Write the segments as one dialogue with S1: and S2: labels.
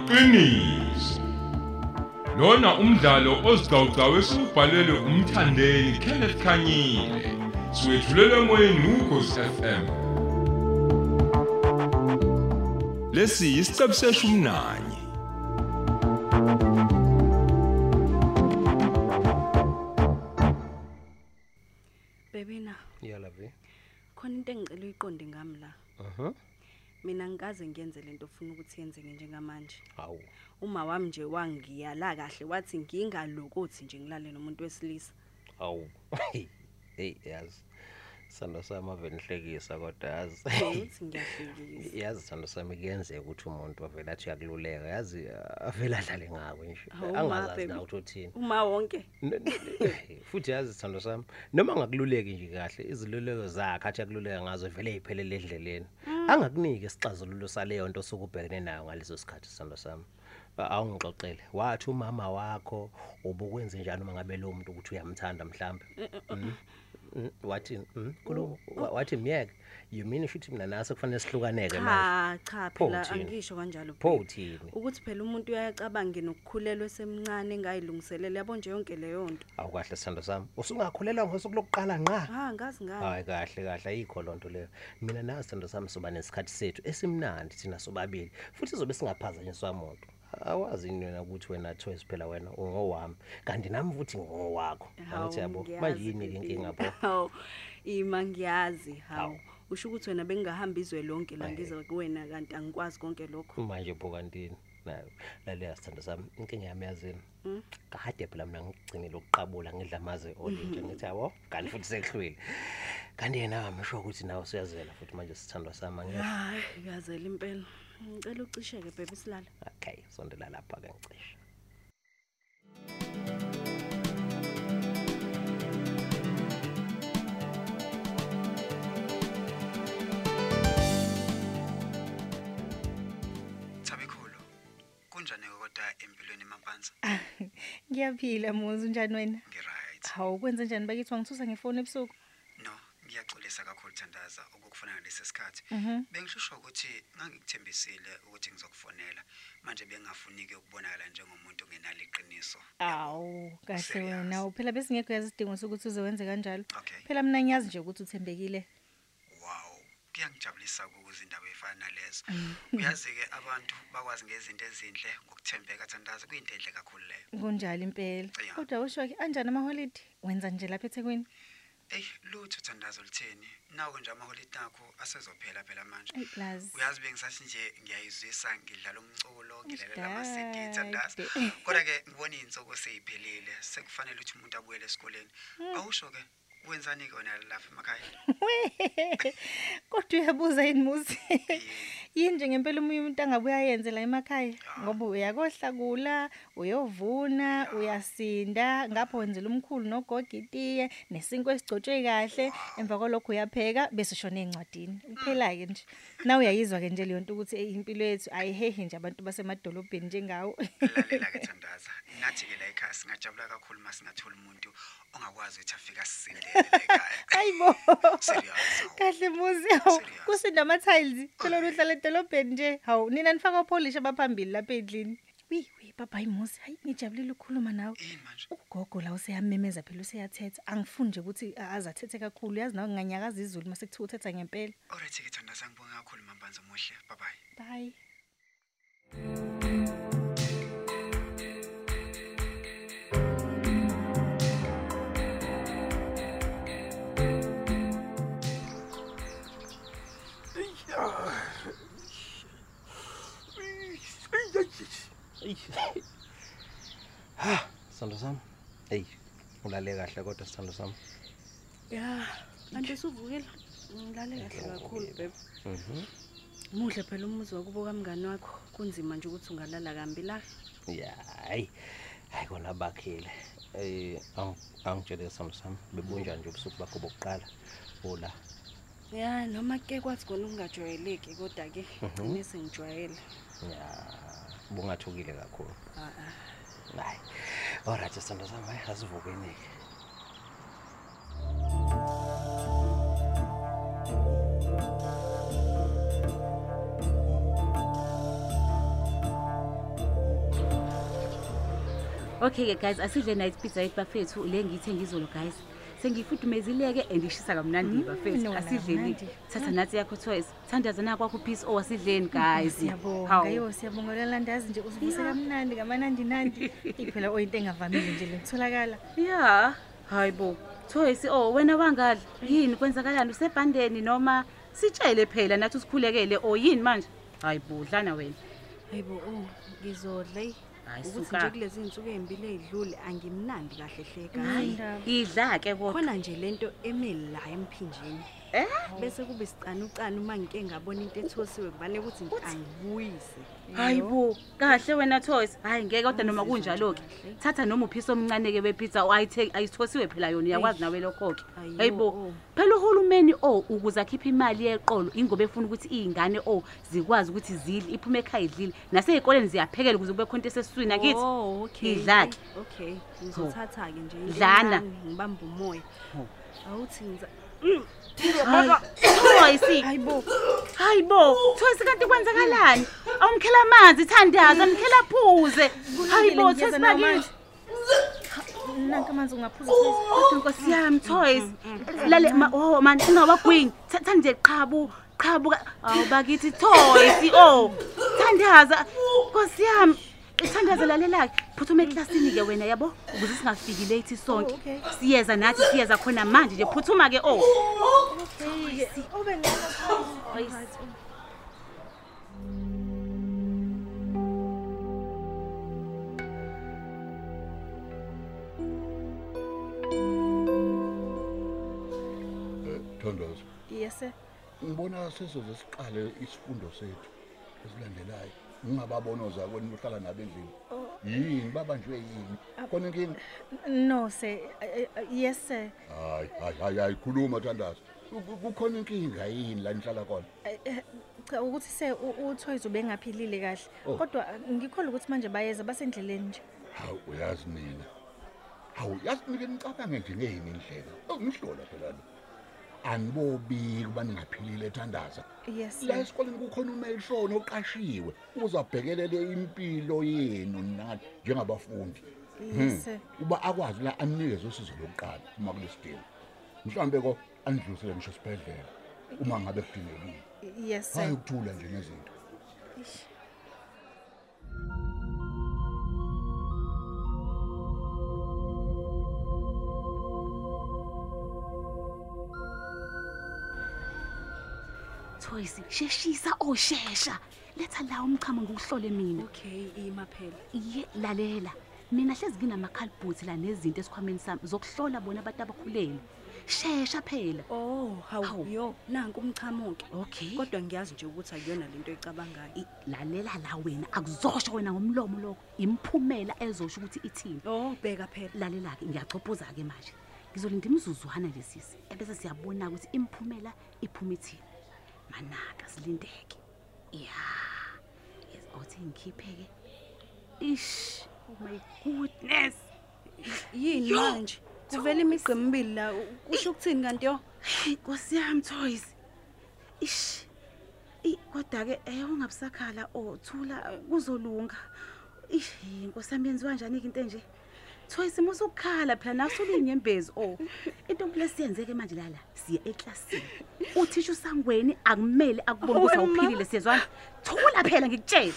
S1: liqiniso lona umdlalo ozigcawugcawe siubhalelwe umthandeni kenneth khanyile siwethulelwe emoyeni ukhosi fm lesi yisiqebu seshumnanye
S2: bebina
S3: yalavi
S2: khona into engicela uyiqonde ngami la
S3: aha
S2: mina ngikaze ngiyenze lento ofuna ukuthi yenzeke njengamanje
S3: hawu
S2: uma wami nje wangiyala kahle wathi ngingalokothi nje ngilale nomuntu wesilisa
S3: hawu hey yazi sando sami avele nihlekisa kodwa yazi
S2: uthi ngiyahlekisa
S3: yazi sando sami kuyenzeka ukuthi umuntu avele athi uyakululeka yazi ah, avele adlale ngawe nje
S2: Hawu, ma,
S3: angazazi
S2: baby.
S3: na ukuthi uthini
S2: uma wonke
S3: N- n- hey, futhi yazi sithando sami noma ngakululeki nje kahle iziluleko zakhe athi akululeka ngazo vele iphelele endleleni angakuniki isixazululo saleyo nto sokubhekene nayo ngaleso sikhathi sithando sami A- awungixoxele wathi umama wakho ubukwenze njani uma ngabe lo muntu ukuthi uyamthanda mhlambe Mm. Mm, wathini Mm, kulo- wa- wathi myeke you mean shuthi mina nase kufanele sihlukaneke
S2: cha
S3: manje
S2: cha
S3: Pho
S2: phela
S3: uthini?
S2: angisho kanjalo
S3: pho
S2: babe.
S3: uthini
S2: ukuthi phela umuntu uyacabange nokukhulelwa esemncane engayilungiselela yabo nje yonke leyo nto
S3: awukahle sithando sami usungakhulelwa ngosuku lokuqala nqa
S2: ha ngazi ngayo
S3: hayi kahle kahle ayikho loo nto leyo mina nawe sithando sami soba nesikhathi sethu esimnandi thina sobabili futhi sobe singaphazanyiswa muntu awazi yini wena ukuthi wena toys phela wena ungowami kanti nami futhi ngingowakho angithi yabo manje yini-ke inkinga pho
S2: hawu ima ngiyazi hawu
S3: Hawu.
S2: usho ukuthi wena bengingahamba izwe lonke la
S3: Hhayi.
S2: ngiza kuwena kanti angikwazi konke lokho
S3: manje pho kantini nayo laleya sithando sami inkinga yami yazini kade phela mina ngigcinile ukuqabula ngidla amaze olinto ngithi yabo kanti futhi sekuhlwile kanti yena amisho ukuthi nawe usuyazela futhi manje sithandwa sami angeke
S2: hayi ngiyazela impela ngicela ucisheke bhebe silala
S3: okay sondela lapha-ke ngicishe
S4: Thabekhulu. Kunjani ke kodwa empilweni emaphansi?
S5: ngiyaphila muzi unjani wena
S4: Ngiright.
S5: hawu kwenze njani bakithi wangithusa ngefoni ebusuku
S4: No, ngiyaxolisa kakhulu Thandaza ukukufuna ngalesi sikhathi.
S5: Mhm.
S4: Bengihlushwa ukuthi ngangikuthembisile ukuthi ngizokufonela. Manje bengafuniki ukubonakala njengomuntu ngenalo iqiniso.
S5: awu kahle wena uphela besingekho yazi isidingo sokuthi uze wenze kanjalo
S4: Okay.
S5: phela mina ngiyazi nje ukuthi uthembekile
S4: Wow. Kuyangijabulisa ukuza indaba efana nalezo. Uyazi ke abantu bakwazi ngezinto ezinhle ngokuthembeka Thandaza kuyinto enhle kakhulu leyo.
S5: kunjalo impela
S4: Yeah.
S5: kodwa usho-ke anjani amaholidi wenza nje lapha ethekwini
S4: Ey, lutho Thandaza lutheni? Nawo nje amaholide akho asezophela phela manje.
S5: Ayi, lazi
S4: uyazi bengisathi nje ngiyayizwisa ngidlala umculo ngilalela ama-cd
S5: Usidade.
S4: thandaza kodwa-ke ngibona iy'nsuku seyiphelile sekufanele ukuthi umuntu abuyele esikoleni awusho-ke wenzani-ke wena lapha emakhaya
S5: We, kodwa uyabuza yini muzi yini nje ngempela omunye umuntu angabe uyayenze la emakhaya ngoba uyakohlakula uyovuna uyasinda ngapho wenzela umkhulu nogogitiye nesinkwe esigcotshwe kahle emva kwalokho uyapheka bese ushona ey'ncwadini iphela-ke nje na uyayizwa-ke nje leyo nto ukuthi eyi, impilo yethu ayihehi nje abantu basemadolobheni njengawo
S4: lalela-ke thandaza nathi-ke la ekhaya singajabula kakhulu uma singathola umuntu ongakwazi ukuthi afike asisindele la ekhaya
S5: ayibo
S4: Serious, hawu.
S5: kahle muzi hawu
S4: Serious.
S5: kusinda ama-tiles phela luhlala edolobheni nje hawu nina nifaka upholisha abaphambili lapha endlini wi wi baba imuzi hayi ngijabulile ukukhuluma nawe
S4: yini manje
S5: ugogo la useyamemeza phela useyathetha angifuni nje ukuthi a- aze athethe kakhulu yazi nawe nginganyakaza izulu uma sekuthiwa uthetha ngempela
S4: oright-ke thandaza ngibonge kakhulu mambanzi muhle babayi
S5: bayi
S3: ha sithando sami eyi ulale kahle kodwa sithando sami
S2: ya kanti usuvukile ngilale kahle kakhulu bhebe
S3: Mhm.
S2: muhle phela umuzi wakubo kamngani wakho kunzima nje ukuthi ungalala kambi la
S3: ya hayi hayi kona bakhile um angitshele sithando sami bebunjani nje ubusuku bakho bokuqala ola
S2: ya noma ke kwathi kona ukungajwayeleki kodwa-ke gcine sengijwayele
S3: ya bungathukile kakhulu
S2: Ah, ah.
S3: hayi olright sithando sami hayi asivukeni-ke
S6: okay-ke guys asidle nayo pizza yethu bafethu le ngiyithe ngizolo guys sengifudumezileke and ishisa kamnandi bafethu
S5: no, la,
S6: asidleni
S5: mnandi.
S6: thatha nathi yakho toys thandaza nakwakho peace o asidleni guys
S5: siyabonga
S6: Hawu.
S5: yo siyabonga lelandazi nje usivuse kamnandi ngamanandinandi iphela oyinto engavamile nje letholakala
S6: ya hayi bo toys o wena wangadli yini kwenzakalani usebhandeni noma sitshele phela nathi usikhulekele o yini manje hayi bo dlana wena
S2: hayi bo o ngizodla eyi.
S6: Hayi,
S2: oh, ukuthi
S6: suka.
S2: nje kulezi iy'nsuku ey'mbili ey'dlule angimnandi kahle hleka
S6: idla-ke kodwa
S2: khona nje lento emeli la emphinjeni
S6: Eh?
S2: bese kuba isicanucane uma ngike ngabona into ethosiwe kufanele ukuthi ngi- angibuyise
S6: hayi bo kahle wena toys hayi ngeke kodwa noma kunjalo-ke thatha noma uphisa omncane-ke wepizza ayithe- ayithosiwe phela yona uyakwazi nawe lokho-ke
S2: Ayo,
S6: hayi bo
S2: oh.
S6: phela uhulumeni o ukuze akhiphe imali yeqolo ingoba efuna ukuthi iy'ngane o zikwazi ukuthi zidle iphume ekhaya idlile nasey'koleni ziyaphekela ukuze kube khona into esesiswini akithi
S2: Oh, okay
S6: Idla-ke.
S2: okay ngizothatha-ke nje into
S6: Dlana.
S2: encane, ngibambe umoya awuthi ngiza
S6: toys
S2: Mm, hayi bo
S6: hayi bo toys kanti kwenzakalani awumkhela amanzi thandaza mkhela aphuze hayi bo toys bakile
S5: nanka amanzi ungaphuza please.
S6: kodwa nkosi yami toys lale ma- oh mani ungawagwinyi thatha nje qhabu qhabu ka- awu bakithi toys o thandaza nkosi yami thandaza lalelake phuthuma eklasini-ke wena yabo ukuze singafiki late sonke
S5: okay.
S6: siyeza nathi siyeza khona manje nje oh. phuthuma-ke o
S7: Thondozo,
S5: yes sir.
S7: ngibona sizoze siqale isifundo sethu esilandelayo. Ungababonoza kwenu uhlala nabe endlini. Yini babanjwe yini? Khona inkinga?
S5: no sir Eh, eh, yes sir
S7: Hayi, hayi, hayi, hayi khuluma Thandazo. Ku- Kukhona inkinga yini la nihlala khona?
S5: Eh, eh, cha ukuthi se u- utoys ubengaphilile kahle
S7: Oh.
S5: kodwa eh, ngikholwa ukuthi manje bayeza basendleleni nje
S7: Hawu uyazi mina. Hawu yazi nike nicabange nje ngeyini indlela. Ngihlola phela lo. Anibobiki baningaphilile Thandaza.
S5: yes
S7: la
S5: sir.
S7: esikoleni kukhona umelshoni oqashiwe uzabhekelele impilo yenu nathi njengabafundi
S5: yes sir.
S7: Hmm. uba akwazi la anikeze usizo lokuqala uma kulesidingo mhlawumbe ko anidlulisele ngisho sibhedlela uma ngabe kudingekile
S5: yes sir.
S7: hayi ukuthula nje nezinto
S6: toys sheshisa oshesha letha la umchamo ngiwuhlole mina
S2: okay ima phela
S6: ye lalela mina hlezi nginamakhalibhuthi la nezinto esikhwameni sami zokuhlola bona abantu abakhulele shesha phela
S2: oh hawu
S6: Hawu.
S2: yo nanku umchamo-ke
S6: okay
S2: kodwa ngiyazi nje ukuthi akuyona lento ecabangayo
S6: I- lalela la wena akuzosho wena ngomlomo lokho imiphumela ezosho ukuthi ithini
S2: oh bheka phela
S6: lalela-ke ngiyachophoza-ke manje ngizolinda imizuzwana nje sisi ebese siyabona ukuthi imiphumela iphume ithini manaka silindeke ya yes othe ngikhiphe-ke ish oh my goodness
S2: yini manje kuvela imigqa emibili la u- kusho ukuthini kanti yo
S6: Hey Nkosi yami Toys. Ish. I kodwa ke eh ungabusakhala o thula eh, kuzolunga. Ish hey, Nkosi yami yenziwa kanjani into nje? Toys musu ukukhala phela nasulu inyembezi o. Oh, Into lesiyenzeke manje lala siya eclassini. Uthisha usangweni akumele akubone ukuthi awuphilile siyezwana. Thula phela ngikutshela.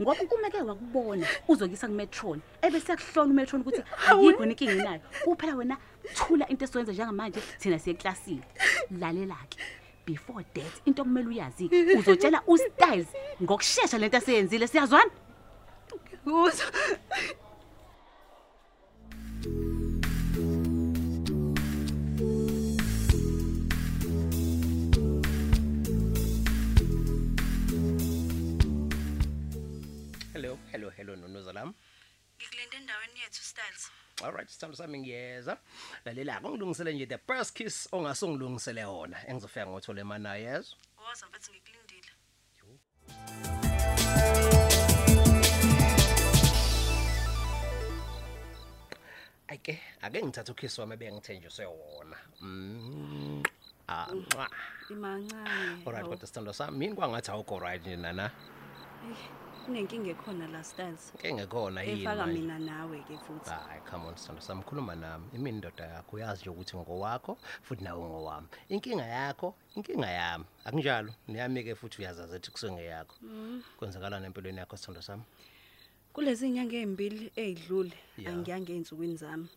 S6: Ngoba ukumeke wakubona uzokuyisa kumetron ebese yakuhlola umetron ukuthi ayikho yini inkinga inayo kuphela wena thula into esizoyenza njengamanje thina siye eklasini lalela-ke before that into okumele uyazi-ke uzotshela ustyles ngokushesha lento aseyenzile siyazwana
S2: kuzo
S3: hello hello hello nonoza lami
S2: ngikulinde endaweni yethu styles
S3: alright sithando sami ngiyeza lalela-ke ungilungisele nje the first kiss ongase ungilungisele yona engizofika ngothola emanayo yezwa
S2: woza mfethu ngikulindile
S3: ake ake ngithatha ukhisi wami ebengithenjiswe wona Mm. Ah, mwah.
S2: imancane
S3: alright kodwa sithando sami yini kwangathi awukho right nje nana
S2: kunenkinga ekhona la styles
S3: ke ngekhona yini
S2: efaka
S3: manje?
S2: mina nawe-ke futhi
S3: hayi come on sithando sami khuluma nami imi indoda yakho uyazi nje ukuthi ngowakho futhi nawe ngowami inkinga yakho inkinga yami akunjalo neyami-ke futhi uyazazi ethi kusengeyakho kwenzakalana empilweni yakho sithando sami
S2: kulezi nyanga ey'mbili ey'dlule
S3: Ya.
S2: angiyange ey'nsukwini zami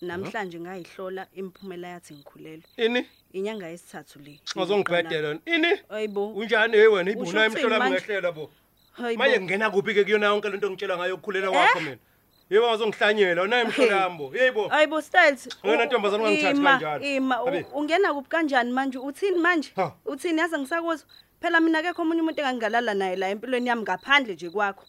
S2: namhlanje ngayihlola imiphumela yathi ngikhulelwe
S3: Uh-huh. ini
S2: inyanga yesithathu le
S3: ozongibhedela ini
S2: Hayibo.
S3: unjani hey wena
S2: Usho ukuthini
S3: ibunayo emhlolami
S2: manje?
S3: ngehlela bo
S2: Hayibo. Eh?
S3: manje ngingena kuphi-ke kuyona yonke lento ngitshelwa ngayo ukukhulela kwakho mina yebo wazongihlanyela unayo emhlolambo yeyibo
S2: hayi bo styles
S3: Wena ntombazane ungangithathi
S2: Ima,
S3: kanjalo.
S2: ima u-
S3: Abe.
S2: ungena kuphi kanjani manje uthini manje
S3: Ha.
S2: uthini yaze ngisakuzwa phela mina akekho omunye umuntu engangingalala naye la empilweni yami ngaphandle nje kwakho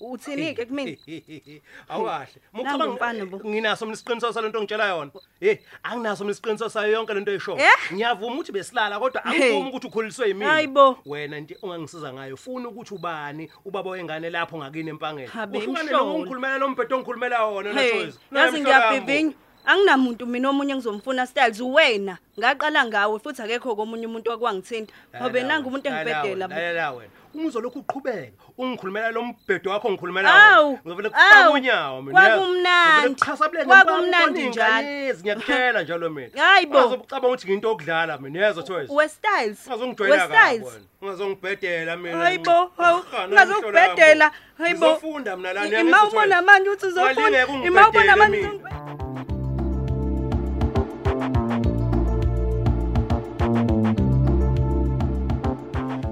S2: uthini-ke kumina
S3: awahle
S2: Nangu umfana bo.
S3: nginaso mina isiqiniseko salento ngitshela yona hey anginaso mina isiqiniseko sayo yonke lento eyisho
S2: Eh?
S3: ngiyavuma ukuthi besilala kodwa
S2: Hey.
S3: angivumi ukuthi ukhuliswe
S2: Hayi
S3: yimina
S2: bo.
S3: wena into ongangisiza ngayo funa ukuthi ubani ubaba wengane lapho ngakini empangeni
S2: Habe,
S3: uhlukane
S2: imhlola.
S3: longikhulumela lo mbhedo ongikhulumela wona
S2: Hey,
S3: noThozi. Naye
S2: yazi
S3: emhlolambo.
S2: ngiyavivinya anginamuntu mina omunye engizomfuna styles wena ngaqala ngawe futhi akekho komunye umuntu okwangithinta ngobe
S3: Lalela
S2: nangu
S3: wena,
S2: umuntu engibhedela
S3: lalela wena, lalela wena uma uzolokhu uqhubeka ungikhulumela lo mbhedo wakho ongikhulumela
S2: Awu,
S3: wona, ngizovele kufake
S2: awu,
S3: unyawo mina, uyazi?
S2: kwakumnandi,
S3: Ngizovele kuchasabuleke
S2: kwakumnandi
S3: ngempama, ubone
S2: njalo.
S3: iy'nganezi, ngiyakutshela njalo mina
S2: Hayi bo.
S3: ungazokucabanga ukuthi ngiyinto yokudlala mina yezo Thozi.
S2: we-styles
S3: ungazongijwayela kabi
S2: we-styles
S3: wena, ungazongibhedela mina
S2: Hayi
S3: nqi.
S2: bo, hawu,
S3: Ah, nami
S2: ungazongibhedela,
S3: mhlolabo.
S2: hayi bo.
S3: Ngizofunda mina lana,
S2: I-
S3: uyangithi
S2: ima
S3: Thozi?
S2: ubona manje uthi uzofunda
S3: Ungalingeka
S2: ima ubona
S3: ungibhedele
S2: manje
S3: mina.
S2: uzongibhe-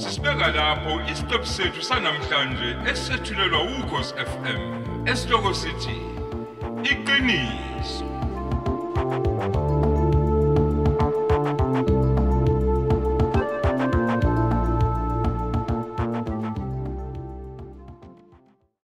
S1: Sisibeka lapho isiqephu sethu sanamhlanje esethulelwa ukhosi FM. Esihloko sithi iqiniso